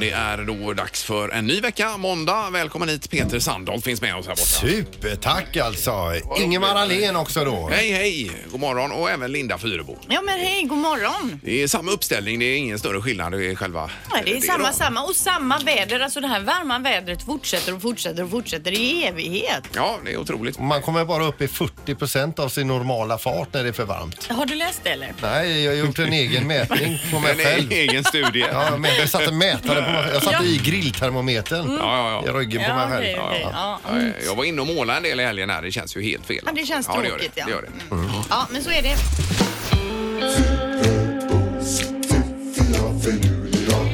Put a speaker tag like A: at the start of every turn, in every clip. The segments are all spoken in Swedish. A: Det är då dags för en ny vecka, måndag. Välkommen hit, Peter Sandholt finns med oss här borta.
B: Supertack alltså! Ingemar Ahlén också då.
A: Hej, hej! God morgon och även Linda Fyrebo.
C: Ja men hej, god morgon.
A: Det är samma uppställning, det är ingen större skillnad i själva...
C: Ja, det är samma,
A: då.
C: samma och samma väder. Alltså det här varma vädret fortsätter och fortsätter och fortsätter i evighet.
A: Ja, det är otroligt.
B: Man kommer bara upp i 40 av sin normala fart när det är för varmt.
C: Har du läst det eller?
B: Nej, jag har gjort en egen mätning på mig
A: En
B: själv.
A: e- egen studie.
B: Ja, men jag satte mätare på Jag satte
C: Ja.
B: i grilltermometern
A: Ja, ja,
B: i
A: ja.
B: ryggen på mig
C: okej,
B: själv.
C: okej. Ja. mm.
A: Ja, Jag var inne och målade en del i helgen här. Det känns ju helt fel.
C: Ja, det känns
A: ja, det gör
C: tråkigt,
A: det.
C: ja. Mm.
A: Det gör det. Mm.
C: ja, men så är det.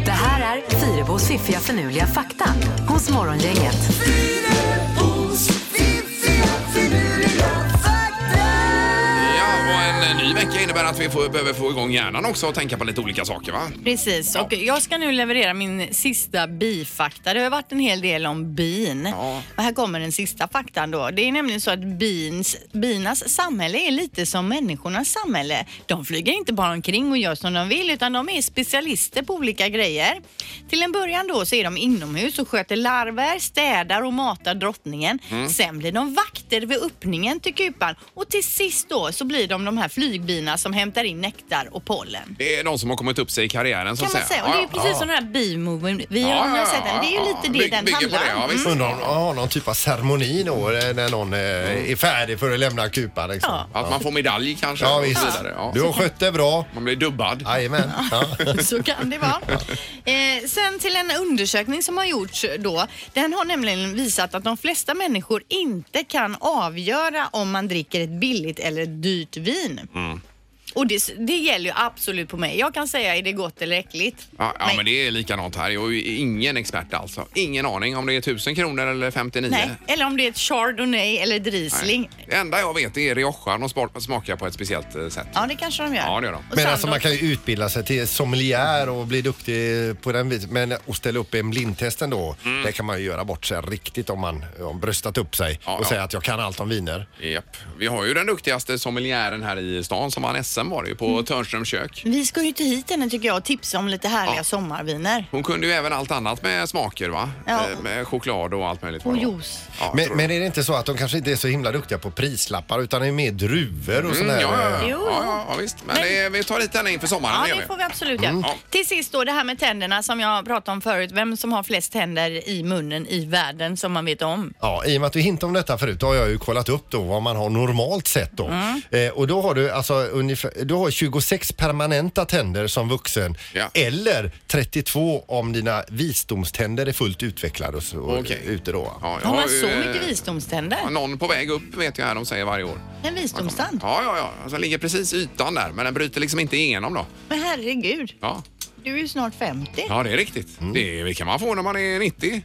D: Det här är Fyrabos fiffiga förnuliga fakta hos Morgongänget.
A: Ja, och en ny vecka innebär att vi får, behöver få igång hjärnan också och tänka på lite olika saker, va?
C: Precis, och jag ska nu leverera min sista bifakta. Det har varit en hel del om bin.
A: Ja.
C: Och här kommer den sista faktan då. Det är nämligen så att bins, binas samhälle är lite som människornas samhälle. De flyger inte bara omkring och gör som de vill utan de är specialister på olika grejer. Till en början då så är de inomhus och sköter larver, städar och matar drottningen. Sen blir de vakter vid öppningen till kupan och till sist då så blir de de här flygbina som hämtar in nektar och pollen
A: Det är de som har kommit upp sig i karriären, så
C: kan
A: att
C: man säga. Och det är ju precis som den här bimoven. Vi
A: Ja, ja,
C: har ja, sett den.
A: ja,
C: Det är ju
A: ja.
C: lite det
A: Bygg-
C: den
A: bygger på
C: handlar
A: det, ja,
C: om.
A: visst.
B: Undrar om ja, någon typ av ceremoni då eh, när någon eh, är färdig för att lämna kupan. Liksom.
C: Ja.
A: Att man får medalj kanske.
B: Ja,
A: och så
B: visst.
A: vidare. Ja.
B: Du har skött det bra.
A: Man blir dubbad.
B: Jajamän. Ja.
C: Så kan det vara. Eh, sen till en undersökning som har gjorts då. Den har nämligen visat att de flesta människor inte kan avgöra om man dricker ett billigt eller ett dyrt vin.
A: Mm.
C: Och det, det gäller ju absolut på mig. Jag kan säga är det gott eller äckligt.
A: Ja, ja,
C: Nej.
A: men det är likadant här. Jag är ju ingen expert alltså. Ingen aning om det är 1000 kronor eller 59.
C: Nej. Eller om det är ett chardonnay eller ett riesling.
A: Nej. Det enda jag vet är Riojan och smak- smakar på ett speciellt eh, sätt.
C: Ja, det kanske de gör.
A: Ja, det gör de.
C: Och
B: Men
C: sen
B: alltså
C: då-
B: man kan ju utbilda sig till sommelier och bli duktig på den biten. Men att ställa upp en blindtesten då,
A: Mm.
B: det kan man ju göra bort sig riktigt om man har bröstat upp sig
A: Ja,
B: och
A: ja.
B: säga att jag kan allt om viner.
A: Japp. Vi har ju den duktigaste sommeliären här i stan som vann SM var det ju på
C: Mm.
A: Törnströms kök.
C: Vi ska ju inte hit henne tycker jag och tipsa om lite härliga sommarviner.
A: Hon kunde ju även allt annat med smaker va?
C: Ja.
A: Eh, Med choklad och allt möjligt. vad
C: Och
A: det var.
C: juice.
A: Ja, jag tror
B: Men,
A: det.
B: men är det inte så att de kanske inte är så himla duktiga på prislappar utan är mer druvor och
A: Mm,
B: sådär?
A: ja, ja, ja.
C: Jo, jo.
A: ja, ja, ja, visst. Men,
C: Men-
A: Det, vi tar hit henne inför sommaren.
C: Ja,
A: gör Mm.
C: det får vi absolut göra.
A: Ja.
C: Till sist då det här med tänderna som jag pratade om förut. Vem som har flest tänder i munnen i världen som man vet om.
B: Ja, I och med att vi hintade om detta förut då har jag ju kollat upp då vad man har normalt sett då.
A: Mm.
B: Eh, och då har du alltså ungefär, du har 26 permanenta tänder som vuxen
A: Ja.
B: eller 32 om dina visdomständer är fullt utvecklade och så,
A: Okej.
B: ute då.
A: Ja, jag
C: Har man
A: ju,
C: så
A: eh,
C: mycket visdomständer?
A: Ja, Någon på väg upp vet jag här de säger varje år.
C: En visdomstand?
A: Ja, ja, ja. Alltså, den ligger precis i ytan där, men den bryter liksom inte igenom då.
C: Men herregud,
A: Ja,
C: du är ju snart 50.
A: ja det är riktigt.
B: Mm.
A: Det kan man få när man är 90.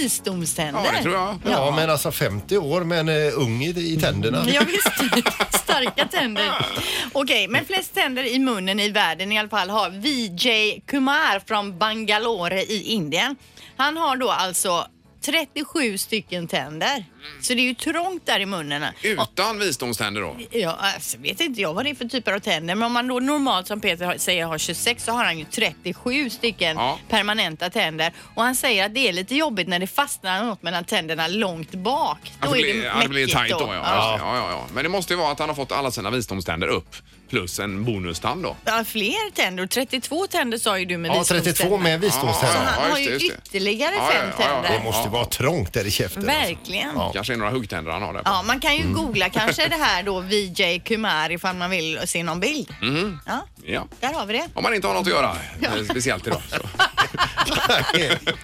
C: Visdomständer?
A: Ja, Mm. det tror jag.
B: Ja, men alltså 50 år men eh, ung i, i tänderna.
C: Ja, visst, starka tänder. Okej, men flest tänder i munnen i världen i alla fall har Vijay Kumar från Bangalore i Indien. Han har då alltså 37 stycken tänder. Så det är ju trångt där i munnen.
A: Utan visdomständer då.
C: Ja, alltså, vet inte jag vad det är för typer av tänder, men om man då normalt som Peter har- säger har 26 så har han ju 37 stycken
A: Ja.
C: permanenta tänder. Och han säger att det är lite jobbigt när det fastnar något mellan tänderna långt bak. Då
A: Att Alltså, det
C: är
A: blir,
C: det
A: att det blir
C: mäckigt
A: tajt då,
C: då.
A: ja. Ja. Ja, ja, Men det måste ju vara att han har fått alla sina visdomständer upp plus en bonustand då.
C: Ja, fler tänder. 32 tänder sa ju du med
B: Ja,
C: visdomständer.
B: 32 med
C: Så
B: visdomständer.
A: Ja,
C: han
A: just
C: har
A: det,
C: ju
A: just det.
C: ytterligare
A: Ja, ja,
C: fem
A: ja, ja.
C: tänder.
B: Det måste ju vara trångt där i käften.
C: Verkligen.
B: Ja.
A: Kanske är några huggtänder han har där. på.
C: Ja, man
A: Mm.
C: kan ju googla kanske det här då Vijay Kumar ifall man vill se någon bild.
A: Mm.
C: Ja,
A: Ja.
C: där har vi det.
A: Om man inte har något att göra eh, speciellt idag så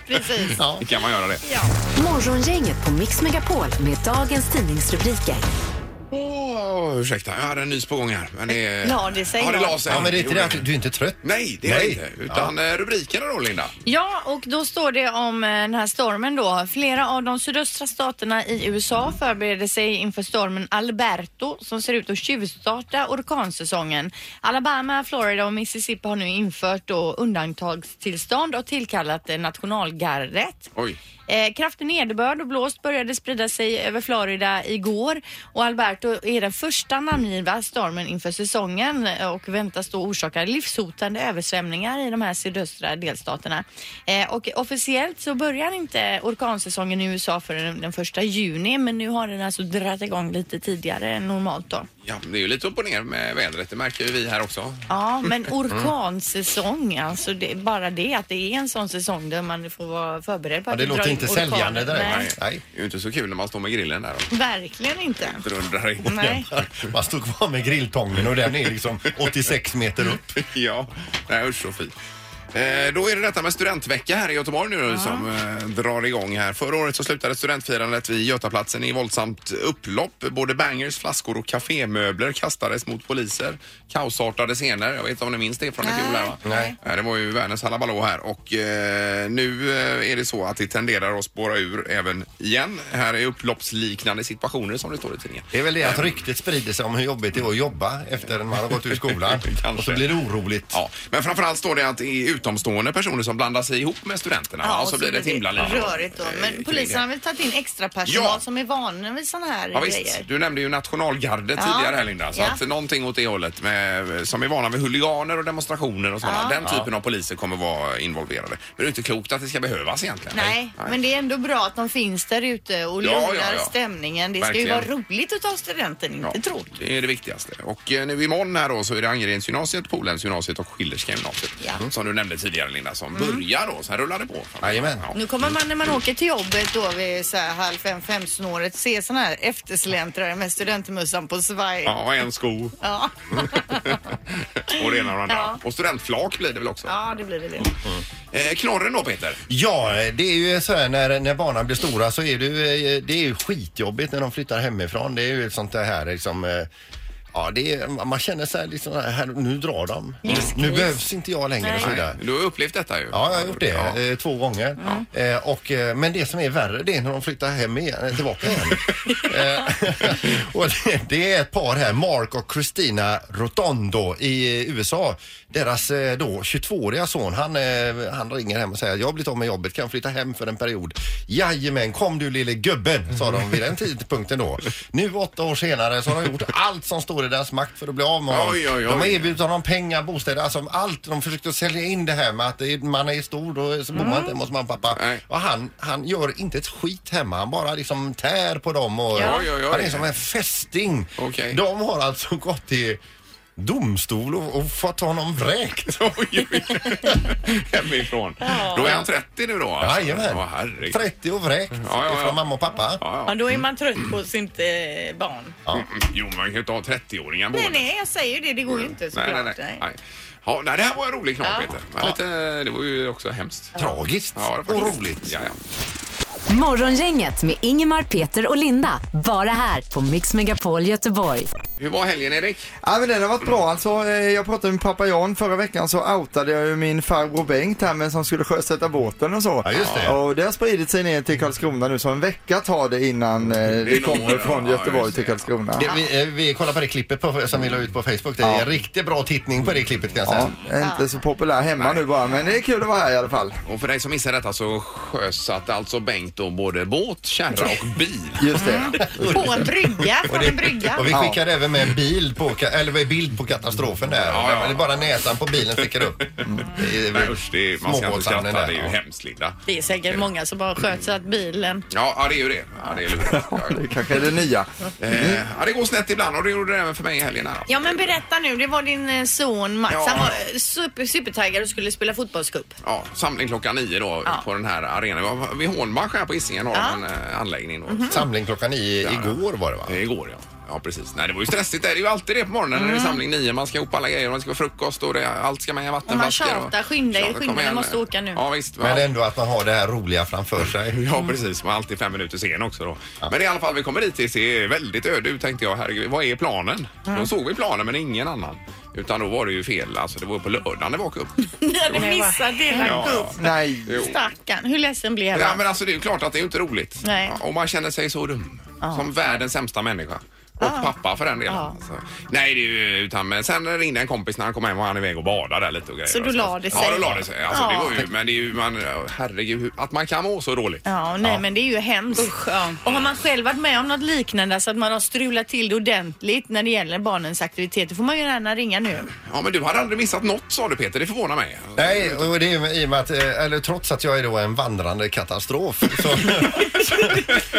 C: Precis.
B: Ja.
A: kan man göra det.
C: Ja.
D: Morgongänget på Mix Megapol med dagens tidningsrubriker.
A: Åh, ursäkta, jag hade en nys på gång här. Men det...
C: La det sig
A: Ja, det
C: då?
A: la sig.
B: Ja, men det är inte det att
A: Gjorde
B: du är inte trött?
A: Nej, det är det
B: Nej.
A: inte. Utan eh, rubrikerna då, Linda?
C: Ja, och då står det om eh, den här stormen då. Flera av de sydöstra staterna i USA förbereder sig inför stormen Alberto som ser ut att tjuvstarta orkansäsongen. Alabama, Florida och Mississippi har nu infört då undantagstillstånd och tillkallat eh, nationalgardet.
A: Oj.
C: Eh, kraftig nederbörd och blåst började sprida sig över Florida igår och Alberto är den den första namngivna stormen inför säsongen eh, och väntas då orsaka livshotande översvämningar i de här sydöstra delstaterna. Eh, Och officiellt så börjar inte orkansäsongen i USA förrän den första juni men nu har den alltså dragit igång lite tidigare än normalt då.
A: Ja, det är ju lite upp och ner med vädret. Det märker ju vi här också.
C: Ja, men
B: Mm.
C: orkansäsong, alltså det, bara det att det är en sån säsong där man får vara förberedd på
B: Ja,
C: att
B: det
C: drar
B: låter
C: in
B: inte
C: orkaner.
B: säljande
C: Nej,
B: direkt. Nej.
A: Det är ju inte så kul när man står med grillen där
C: verkligen inte.
A: och drundrar in.
C: Nej.
B: Man står kvar med grilltången och den är liksom 86 meter upp.
A: ja, nej usch så fint. Eh, Då är det detta med studentvecka här i Göteborg nu som eh, drar igång här. Förra året så slutade studentfirandet vid Götaplatsen i våldsamt upplopp. Både bangers, flaskor och kafémöbler kastades mot poliser. Kaosartade scener. Jag vet inte om ni minns det från i fjol här va?
B: Nej.
A: Eh, Det var ju Värnens halabaloo här och eh, nu eh, är det så att det tenderar att spåra ur även igen. Här är upploppsliknande situationer som det står i tidningen.
B: Det är väl det att ryktet sprider sig om hur jobbigt det är att jobba efter när man har gått ur skolan.
A: Kanske.
B: Och så blir det oroligt.
A: Ja, men framförallt står det att det är utomstående personer som blandar sig ihop med studenterna. Ja, och så, blir det ett himla liv.
C: Rörigt då.
A: Eh,
C: Men
A: kring
C: polisen har
A: det.
C: väl tagit in extra personal
A: Ja.
C: som är vana vid såna här
A: Ja,
C: grejer.
A: visst. Du nämnde ju nationalgardet
C: Ja.
A: tidigare här Linda. Så
C: Ja.
A: att någonting åt det hållet med, som är vana vid huliganer och demonstrationer och sådana. Den typen av poliser kommer vara involverade. Men det är inte klokt att det ska behövas egentligen.
C: Nej, men det är ändå bra att de finns där ute och
A: Ja,
C: lugnar
A: ja, ja.
C: stämningen. Det ska ju
A: Verkligen.
C: vara roligt att ta studenten, inte
A: Ja,
C: tråkigt.
A: det är det viktigaste. Och eh, nu imorgon här då så är det Angereds-gymnasiet, Polhemsgymnasiet och Schillerska gymnasiet.
C: Ja. Mm.
A: Som du nämnde tidigare Linda, som börjar då. Sen rullar det på.
B: Jajamän.
A: Ja.
C: Nu kommer man när man åker till jobbet då vid så här halv fem, fem-snåret se såna här eftersläntrare med studentmössan på svaj.
A: Ja, och en sko.
C: Ja.
A: och det ena och det andra.
C: Ja.
A: Och studentflak blir det väl också.
C: ja, det blir det. det.
A: Eh, knorren då Peter?
B: Ja, det är ju så här när, när barnen blir stora så är det, ju, eh, det är ju skitjobbigt när de flyttar hemifrån. Det är ju ett sånt där här liksom eh, Ja, det är, man känner sig liksom, här, nu drar de. Nu behövs inte jag längre och så vidare.
A: Du har upplevt detta ju.
B: Ja, jag har gjort det
A: Ja. Mm.
B: eh, två gånger. Eh, och, eh, men det som är värre det är när de flyttar hem igen, eh, tillbaka igen. eh, och det, det är ett par här, Mark och Christina Rotondo i eh, USA. Deras eh, då 22-åriga son, han, eh, han ringer hem och säger jag har blivit av med jobbet, kan jag flytta hem för en period? Jajamän, kom du lille gubben, sa de vid den tidpunkten då. Nu åtta år senare så har de gjort allt som står i deras makt för att bli av med honom.
A: Oj, oj, oj.
B: De har erbjudit honom pengar, bostäder, alltså allt. De försökte sälja in det här med att det är- man är stor och så bor man inte hemma hos mamma och pappa.
A: Mm. Nej.
B: Och han, han gör inte ett skit hemma. Han bara liksom tär på dem och
A: Ja. Oj, oj, oj.
B: han är som en fästing.
A: Okej.
B: De har alltså gått till domstol och, och fått honom vräkt.
A: Oj, oj, oj. Hemifrån. Då är han 30 nu då? alltså.
B: Jajamän.
A: Ja, herregud.
B: 30 och vräkt
A: Ja, ja, ja.
B: från mamma och pappa.
A: Ja,
C: Ja,
A: ja.
C: då är man trött på sitt eh, barn.
A: Mm, Jo, man kan ju inte ha 30-åringar
C: Nej,
A: boende.
C: nej, jag säger ju det. Det går ju inte såklart.
A: nej, nej, nej. nej. Ja, nej, det här var en rolig knorr, Peter. Men Lite, det var ju också hemskt.
B: Tragiskt
A: Ja, det var
B: och
A: faktiskt-
B: roligt.
A: Ja, ja.
D: Morgongänget med Ingemar, Peter och Linda. Bara här på Mix Megapol Göteborg.
A: Hur var helgen, Erik?
E: Ja men den har varit bra alltså. Eh, Jag pratade med pappa Jan förra veckan så outade jag ju min farbror Bengt här men som skulle sjösätta båten och så.
B: Ja, just det.
E: Och det har spridit sig ner till Karlskrona nu så en vecka tar det innan eh, det,
A: är några år,
E: kommer från
A: ja,
E: Göteborg
A: just det,
E: till Karlskrona.
B: Det, vi, eh, vi kollar på det klippet på, som vi la ut på Facebook. Det är en riktigt bra tittning på det klippet kan jag säga.
E: Ja, jag är inte så populär hemma nu bara men det är kul att vara här i alla fall.
A: Och för dig som missade detta så sjösatt alltså Bengt då både båt, kärra och bil.
E: Just det.
C: På en brygga, från en brygga.
B: Och vi
E: Ja.
B: skickade även med en bil på, ka- eller med bild på katastrofen där.
A: Ja, ja.
B: Det är bara näsan på bilen sticker upp. Mm. Det är-
A: Nej usch, det är, man ska inte
B: småbåtshamnen
A: skratta.
B: där,
A: Det är ju
B: ja.
A: hemskt, Linda.
C: Det är säkert många som bara sköt så att bilen...
A: Ja, ja, det är ju det. Ja, det, är lurigt. Ja,
E: Det kanske är det nya.
A: ja. Eh, ja, det går snett ibland och det gjorde det även för mig i helgen. Här.
C: Ja men berätta nu, det var din eh, son Max.
A: Ja.
C: Han var eh, super, supertaggad och skulle spela fotbollscup.
A: Ja, samling klockan nio då
C: Ja.
A: på den här arenan. Vi har- Vid Hornbach här på Hisingen har de en eh, anläggning. Då.
C: Mhm.
B: Samling klockan nio igår var det va?
A: Eh, Igår ja. Ja precis. Nej det var ju stressigt där. Det är ju alltid det på morgonen när det
C: Mm.
A: är samling nio. Man ska ihop alla grejer. Man ska få frukost och det, allt ska med. Vattenflaskor.
C: Och man tjatar, skynda er,
A: Tjatar, kom
C: skynda, ni
A: igen.
C: måste åka nu.
A: Ja visst. va?
B: Men ändå att man har det här roliga framför sig.
C: Mm.
A: Ja precis, man är alltid fem minuter sen också då. Men i alla fall, vi kommer dit, det ser väldigt öde ut tänkte jag. Herregud, vad är planen? Då såg vi planen men ingen annan. Utan då var det ju fel, alltså det var på lördagen det var cup.
C: Ni hade missat hela
A: Ja, ja.
C: cup.
E: Nej.
A: Jo.
C: Stackarn, hur ledsen blev
A: Ja
C: han?
A: men alltså det är ju klart att det är ju inte roligt.
C: Nej.
A: Ja, Och man känner sig så dum. Som världens sämsta människa. Och pappa för den delen.
C: Ja.
A: Så, nej, det är ju, utan, men sen ringde en kompis när han kom hem och han är iväg och badade där lite och grejer. Alltså.
C: Så då la det sig?
A: Ja, då la det sig. Alltså,
C: Ja.
A: det går ju, men det är ju, man, herregud, hur- att man kan må så dåligt.
C: Ja, nej men det är ju hemskt. Ja. Och har man själv varit med om något liknande så att man har strulat till det ordentligt när det gäller barnens aktiviteter får man ju gärna ringa nu.
A: Ja, men du hade aldrig missat något sa du Peter, det förvånar mig.
B: Nej, och det är ju i och med att, eh, eller trots att jag är då en vandrande katastrof så, så,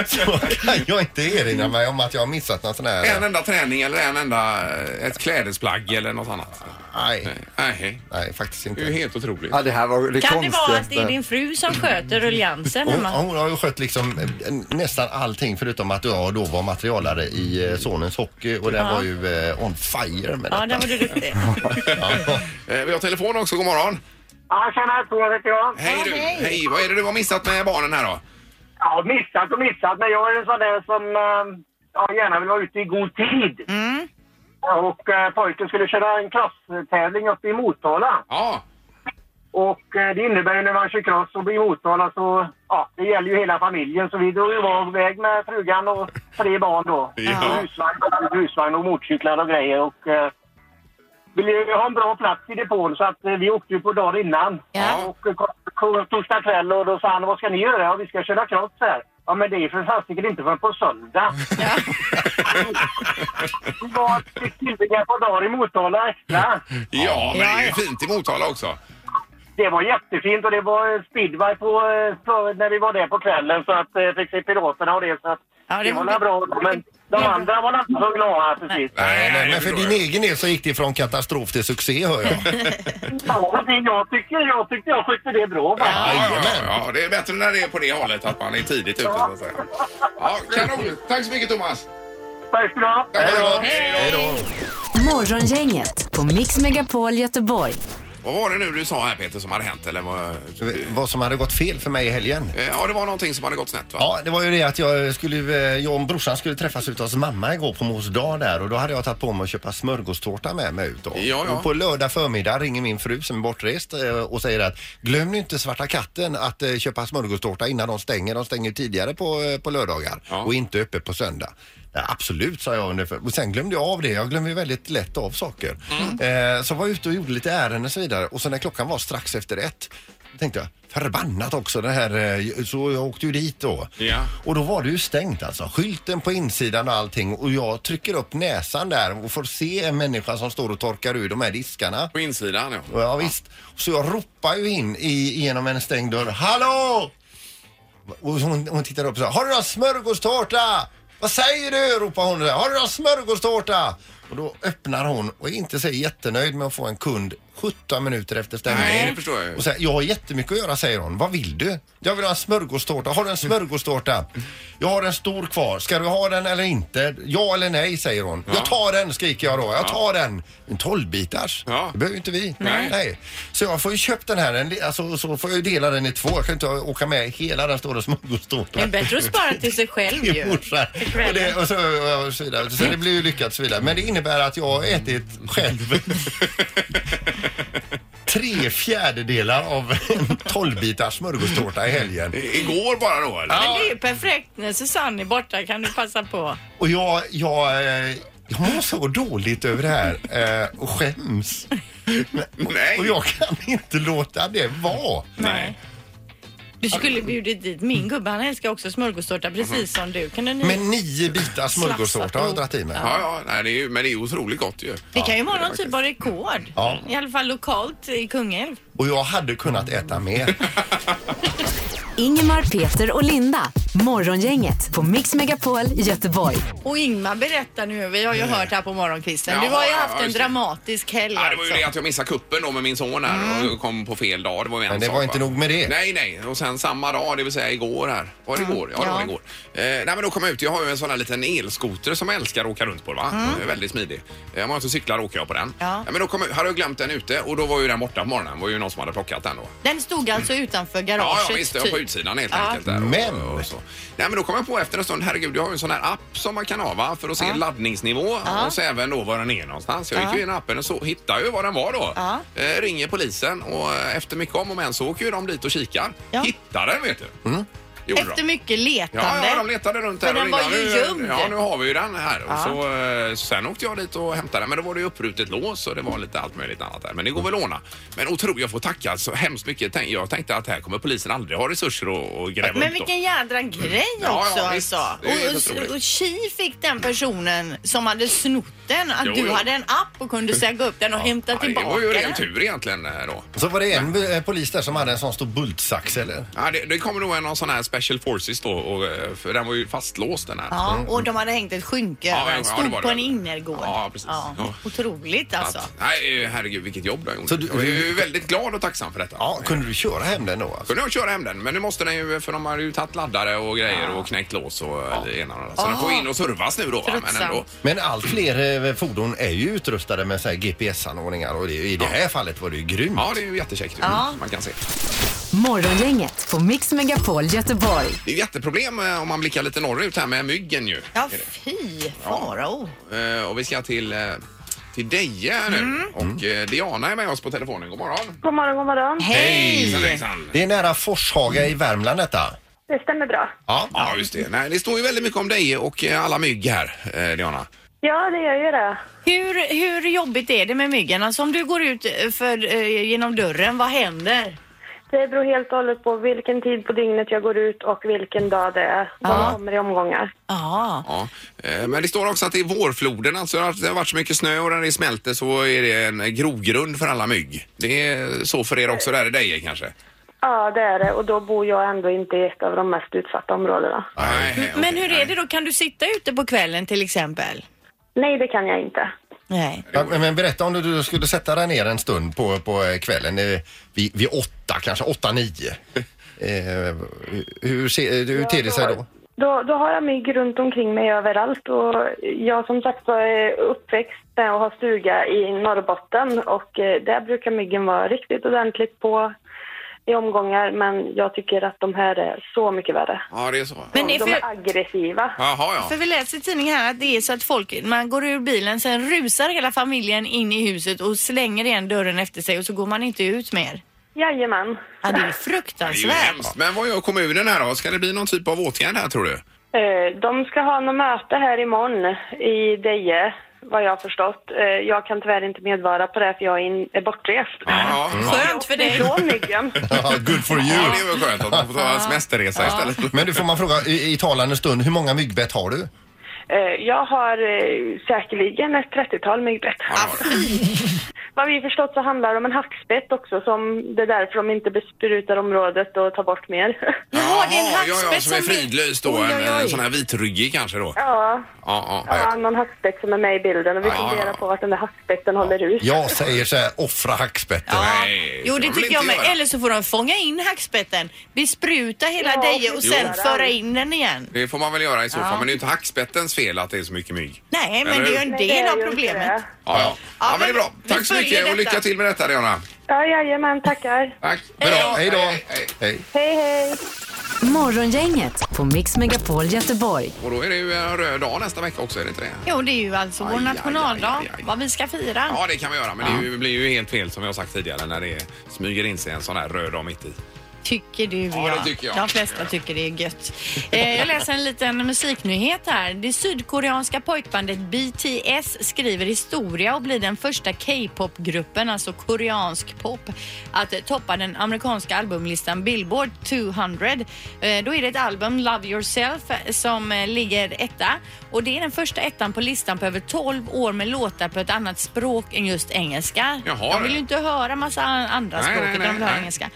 B: så kan jag inte erinra mig om att jag har missat någon sån
A: En
B: här...
A: enda träning eller en enda, eh, ett klädesplagg eller något annat.
B: Nej,
A: Nej,
B: nej faktiskt
A: det är ju
B: inte.
A: helt otroligt.
E: Ja, det här var det
F: Kan det
E: konstigaste.
F: vara att det är din fru som sköter ruljansen
B: Hon,
F: hemma?
B: hon har ju skött liksom eh, nästan allting förutom att jag då var materialare i eh, sonens hockey och den var ju eh, on fire med
F: Ja,
B: detta.
F: där var du duktig.
A: Eh, Vi har telefon också, god morgon.
G: Ja, tjena Tor heter jag.
A: Hej du! Hej, vad är det du har missat med barnen här då?
G: Ja, missat och missat, men jag är en sån där som eh, ja, gärna vill vara ute i god tid. Och eh, pojken skulle köra en crosstävling uppe i Motala.
A: Ja,
G: Och eh, det innebär ju när man kör cross och blir i Motala så, ja, det gäller ju hela familjen. Så vi drog iväg med frugan och tre barn då.
A: Ja.
G: Husvagn, husvagn och motorcyklar och grejer. Och eh, ville ju ha en bra plats i depån så att eh, vi åkte ju på dagen innan.
A: Ja.
G: Och eh, kom- kom torsdag kväll och då sa han, vad ska ni göra? Ja, vi ska köra cross här. Ja, men det är ju för fasiken inte förrän på söndag. Vi var tillbringa på dagar i Motala extra.
A: ja men det är ju
C: Ja,
A: fint i Motala också.
G: Det var jättefint och det var eh, speedway på, eh, på, när vi var där på kvällen så att eh, fick se piloterna och det så att
C: Ja, det
G: det,
C: var-
G: var var bra. Men de andra var inte så glada precis.
B: Nej, nej,
A: det
B: men för
A: förstår
B: din
A: jag.
B: egen del så gick det från katastrof till succé hör jag.
G: Ja, men jag tycker jag, tyckte jag skötte det bra. Va?
A: Ja, ja, ja, ja, det är bättre när det är på det hållet, att man är tidigt ute så att säga. Ja, kanon! Tack så mycket Thomas!
G: Tack ska du ha.
A: Tack för idag.
B: Hej då!
D: Morgongänget på Mix Megapol Göteborg.
A: Vad var det nu du sa här Peter som hade hänt eller vad?
B: Vad som hade gått fel för mig i helgen.
A: Eh, Ja, det var någonting som hade gått snett va?
B: Ja, det var ju det att jag, skulle, ju, eh, jag och brorsan skulle träffas ute hos mamma igår på mors dag där och då hade jag tagit på mig att köpa smörgåstårta med mig ut då.
A: Ja, ja.
B: Och på lördag förmiddag ringer min fru som är bortrest eh, och säger att glöm nu inte Svarta katten att eh, köpa smörgåstårta innan de stänger. De stänger ju tidigare på, eh, på lördagar
A: Ja.
B: och inte öppet på söndag. Ja, absolut, sa jag ungefär. Och sen glömde jag av det. Jag glömmer ju väldigt lätt av saker.
A: Mm.
B: Eh, så var jag ute och gjorde lite ärenden och så vidare och sen när klockan var strax efter ett tänkte jag förbannat också det här. eh, Så jag åkte ju dit då.
A: Ja.
B: Och då var det ju stängt alltså. Skylten på insidan och allting och jag trycker upp näsan där och får se en människa som står och torkar ur de här diskarna.
A: På insidan ja.
B: Och Ja, visst. Så jag ropar ju in i, genom en stängd dörr. Hallå! Och hon, hon tittar upp och säger, har du någon smörgåstårta? Vad säger du? ropar hon där. Har du någon smörgåstårta? Och då öppnar hon och är inte så jättenöjd med att få en kund 17 minuter efter stängning.
A: Nej, det förstår jag ju.
B: Och säger, jag har jättemycket att göra säger hon. Vad vill du? Jag vill ha en smörgåstårta. Har du en smörgåstårta? Jag har en stor kvar. Ska du ha den eller inte? Ja eller nej säger hon. Jag tar den skriker jag då. Jag tar den. En 12-bitars.
A: Ja.
B: Det behöver ju inte vi.
A: Nej.
B: Nej. Så jag får ju köpt den här, en- alltså, så får jag ju dela den i två. Jag kan inte åka med hela den stora
F: Det är
B: smörgåstårtan.
F: bättre att spara till sig själv
B: i
F: ju.
B: morsan. Och, det, och, så, och så vidare. Så det blir ju lyckat så vidare. Men det innebär att jag har ätit själv tre fjärdedelar av en tolvbitars smörgåstårta i helgen.
A: I- Igår bara då eller?
F: Men det är ju perfekt när Susanne är borta kan du passa på.
B: Och jag, jag, eh, jag mår så dåligt över det här eh, och skäms.
A: Nej.
B: Och jag kan inte låta det vara.
A: Nej.
F: Du skulle bjudit dit min gubbe, han älskar också smörgåstårta precis som du. Kan du ni...
B: Men nio bitar smörgåstårta har jag dragit i mig.
A: Ja, ja, nej, det är ju, men det är ju otroligt gott ju.
F: Det kan ju vara någon typ av rekord.
B: Ja.
F: I alla fall lokalt i Kungälv.
B: Och jag hade kunnat äta mer.
D: Ingemar, Peter och Linda. Morgongänget på Mix Megapol Göteborg.
C: Och Ingmar berättar nu, vi har ju hört här på morgonkvisten, du
A: Ja,
C: har ju
A: ja,
C: haft
A: ja,
C: en
A: just det.
C: dramatisk helg
A: Ja, det var ju
C: alltså.
A: det att jag missade kuppen då med min son här och kom på fel dag. Det var ju en
B: Mm. Men det
A: sak,
B: var
A: va?
B: inte nog med det. Mm.
A: Nej, nej. Och sen samma dag, det vill säga igår här. Var det igår? Ja, det var
C: Ja.
A: igår. Eh, nej, men då kom jag ut. Jag har ju en sån här liten elskoter som jag älskar att åka runt på. Va?
B: Mm.
A: Eh, Väldigt smidig. Eh, Om jag inte cyklar åker jag på den.
C: Ja.
A: men då kom jag, hade jag glömt den ute och då var ju den borta på morgonen. Det var ju någon som hade plockat den då.
C: Den stod alltså utanför
A: Ja,
C: garaget typ.
A: ja visst, det var på utsidan helt enkelt. Där
B: Men-
A: Och, och så. Nej, men då kom jag på efter en stund, herregud, jag har ju en sån här app som man kan ha va? för att se laddningsnivå och så även då var den är någonstans. Jag gick ju in i appen och så hittade ju var den var då.
C: Ja.
A: Eh, ringer polisen och eh, efter mycket om och men så åker ju de dit och kikar.
C: Ja. Mm.
A: Hittar den vet du. gjorde de.
C: Efter mycket
A: Ja,
C: letande.
A: ja, de letade runt där.
C: Men
A: och
C: den var
A: ringde.
C: ju
A: Nu-
C: gömd.
A: Ja, nu har vi ju den här. Och så, eh, sen åkte jag dit och hämtade den, men då var det ju upprutet lås och det var lite allt möjligt annat där. Men det går väl att ordna. Men otroligt, jag får tacka så hemskt mycket. Tänk- Jag tänkte att här kommer polisen aldrig ha resurser att att gräva
C: Men
A: upp dem.
C: vilken jädra grej
A: Ja,
C: också
A: ja, visst.
C: alltså.
A: Det är helt
C: Och,
A: otroligt.
C: och, och chi fick den personen som hade snott den att
A: Jo,
C: du
A: jo.
C: hade en app och kunde säga upp den och hämta
A: Ja,
C: tillbaka
A: Det var ju ren
C: den.
A: tur egentligen eh, då.
B: Så var det en eh, polis där som hade en sån stor bultsax eller?
A: Ja, det, det kommer nog en av sån här special forces då, och, eh, för den var ju fastlåst den här.
C: Ja, och de hade hängt ett skynke
A: Ja,
C: över
A: ja,
C: den.
A: det
C: Stod
A: var
C: på
A: det.
C: en innergård.
A: Ja, precis. Ja.
C: Otroligt alltså.
A: Att, nej, eh, herregud vilket jobb jag gjorde.
B: Så du-
A: jag är ju väldigt glad och tacksam för detta.
B: Ja, kunde du köra hem den då? Alltså?
A: kunde jag köra hem den, men nu måste den ju, för de har ju tagit laddare och grejer och knäckt lås och ja. ena och andra. Så den får in och servas nu då. va, Men ändå.
B: Men allt fler eh, fordon är ju utrustade med så här GPS-anordningar och det, i det här fallet var det ju grymt.
A: Ja, det är ju jättekäckt. mm, Man kan se.
D: Morgongänget på Mix Megapol Göteborg.
A: Det är ju jätteproblem eh, om man blickar lite norrut här med myggen ju.
C: Ja, fy farao.
A: Eh, Och vi ska till, eh, till Deje nu. Och eh, Diana är med oss på telefonen. God morgon.
H: God morgon, god morgon.
A: Hejsan,
C: Hej!
A: hejsan.
B: Det är nära Forshaga i Värmland detta.
H: Det stämmer bra.
B: Ja.
A: Ja, just det. Nej, det står ju väldigt mycket om dig och eh, alla mygg här, eh, Diana.
H: Ja, det gör ju det.
C: Hur, hur jobbigt är det med myggen? Alltså om du går ut eh, för, eh, genom dörren, vad händer?
H: Det beror helt och hållet på vilken tid på dygnet jag går ut och vilken dag det är. De kommer i omgångar.
C: Ja,
A: Ja. Eh, Men det står också att det är vårfloden, alltså att det har varit så mycket snö och när det smälter så är det en grogrund för alla mygg. Det är så för er också där i Deje kanske?
H: Ja, det är det. Och då bor jag ändå inte i ett av de mest utsatta områdena.
A: Nej.
C: men hur är det då? Kan du sitta ute på kvällen till exempel?
H: Nej, det kan jag inte.
C: Nej.
B: Ja, men- Men berätta om du, du skulle sätta dig ner en stund på, på eh, kvällen eh, vid, vid åtta, kanske åtta, nio. Eh, hur ser, eh, hur ter det sig då?
H: Då, då har jag mygg runt omkring mig överallt och jag som sagt var är uppväxt med att ha stuga i Norrbotten och eh, där brukar myggen vara riktigt ordentligt på i omgångar men jag tycker att de här är så mycket värre.
A: Ja, det är så.
C: Men det är
H: De
C: för,
H: är aggressiva.
A: Jaha,
C: För
A: ja.
C: vi läser i tidningen här att det är så att folk, man går ur bilen, sen rusar hela familjen in i huset och slänger igen dörren efter sig och så går man inte ut mer.
H: Jajamän.
C: Ja, det är
A: Det är ju
C: fruktansvärt.
A: hemskt. Men vad gör kommunen här då? Ska det bli någon typ av åtgärd här tror du?
H: Eh, De ska ha något möte här imorgon i Deje, vad jag har förstått. Eh, Jag kan tyvärr inte medvara på det för jag är in- är bortrest.
A: Ja,
C: Mm.
A: ja. ja.
F: Skönt för dig.
H: Från myggen.
B: Ja, Good for
A: ja
B: you!
A: det är väl skönt att man får ta en semesterresa istället.
B: Men du får man fråga i, i talande stund, hur många myggbett har du?
H: Eh, Jag har eh, säkerligen ett 30-tal myggbett.
A: Ja, det har det.
H: Vad vi förstått så handlar det om en hackspett också som det är därför de inte besprutar området och tar bort mer.
C: Jaha, det är en
A: Jaha, ja, ja,
C: hackspett
A: som är
C: som blir-
A: fridlyst då.
C: Oj,
A: En,
C: oj, oj.
A: en sån här vitryggig kanske då. Ja,
H: Ja,
A: ja.
H: jag har någon hackspett som är med i bilden och vi
A: Ja, ja, ja.
H: funderar på vart den där hackspetten håller ut.
B: Jag säger så här, offra hackspetten.
A: Nej,
C: Jo,
A: får
C: det
A: de
C: tycker
A: inte
C: jag med.
A: göra.
C: Eller så får de fånga in hackspetten, bespruta hela
H: Ja,
C: Deje och sen
H: precis.
C: föra in den igen.
A: Det får man väl göra i så fall. Men det är ju inte hackspettens fel att det är så mycket mygg.
C: Nej, men
A: Eller
C: det är ju
A: hur?
C: en
H: Men det är
C: del
H: Eh, ju
C: av
H: inte
C: problemet.
H: det.
A: Ja, ja. ja men det är
C: men
A: bra.
C: vi
A: Tack så
C: följer
A: mycket och
C: detta.
A: lycka till med detta Diana.
H: Ja, jajamän, tackar.
A: Tack.
B: Men då,
A: Bra.
B: hej då!
A: Hej, hej.
B: Hej.
H: Hej, hej.
D: Morgongänget på Mix Megapol Göteborg.
A: Och då är det ju en röd dag nästa vecka också, är det inte det?
C: Jo, det är ju alltså
A: Aj,
C: vår
A: aj, aj,
C: nationaldag,
A: aj, aj.
C: vad vi ska fira.
A: Ja, det kan vi göra, men det är ju- blir ju helt fel som jag har sagt tidigare när det smyger in sig en sån här röd dag mitt i.
C: Tycker du
A: Ja, det tycker jag.
C: De flesta tycker det är gött. Eh, jag läser en liten musiknyhet här. Det sydkoreanska pojkbandet BTS skriver historia och blir den första K-pop-gruppen, alltså koreansk pop, att eh, toppa den amerikanska albumlistan Billboard 200. Eh, då är det ett album, Love Yourself, eh, som eh, ligger etta. Och det är den första ettan på listan på över 12 år med låtar på ett annat språk än just engelska.
A: Jaha,
C: De vill
A: du.
C: ju inte höra massa andra
A: Nej,
C: språk,
A: nej,
C: utan de vill
A: nej,
C: höra
A: nej.
C: engelska.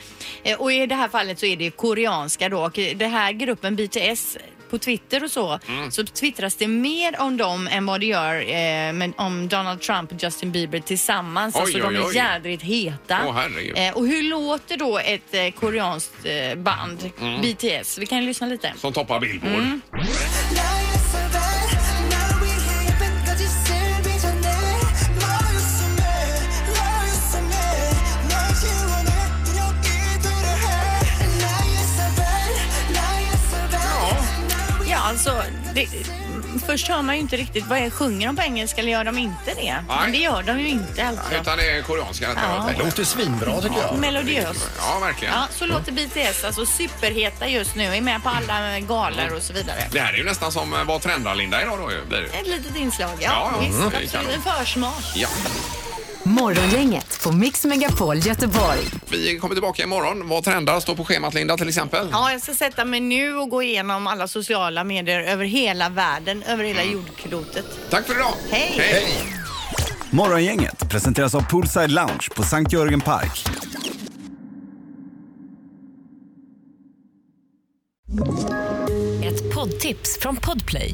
C: Eh, Och i det här fallet så är det koreanska då och det här gruppen BTS på Twitter och så,
A: Mm.
C: så twittras det mer om dem än vad det gör eh, men om Donald Trump och Justin Bieber tillsammans.
A: Oj,
C: alltså
A: oj,
C: de är
A: oj.
C: jädrigt heta.
A: Åh, herregud.
C: eh, och hur låter då ett eh, koreanskt eh, band,
A: Mm.
C: BTS? Vi kan ju lyssna lite.
A: Som toppar Billboard.
C: Ja, alltså, det, först hör man ju inte riktigt, vad är, sjunger de på engelska eller gör de inte det?
A: Nej.
C: Men det gör de ju inte alltså.
A: Utan det är koreanska detta.
C: Ja.
A: var det.
B: Låter svinbra tycker jag.
C: Melodiöst.
A: Ja, verkligen.
C: Ja, så låter BTS alltså superheta just nu, är med på alla galor och så vidare.
A: Det här är ju nästan som eh, Vad trendar Linda idag då ju, blir det.
C: Ett litet inslag,
A: Ja,
C: ja.
A: ja,
C: visst,
A: mm.
C: absolut. En försmak.
A: Ja.
I: Morgongänget på Mix Megapol Göteborg.
A: Vi kommer tillbaka imorgon. Vad trendar står på schemat Linda till exempel.
C: Ja, jag ska sätta mig nu och gå igenom alla sociala medier över hela världen, över hela jordklotet.
A: Tack för idag!
C: Hej.
A: Hej.
J: Morgongänget presenteras av Poolside Lounge på Sankt Jörgen Park.
D: Ett poddtips från Podplay.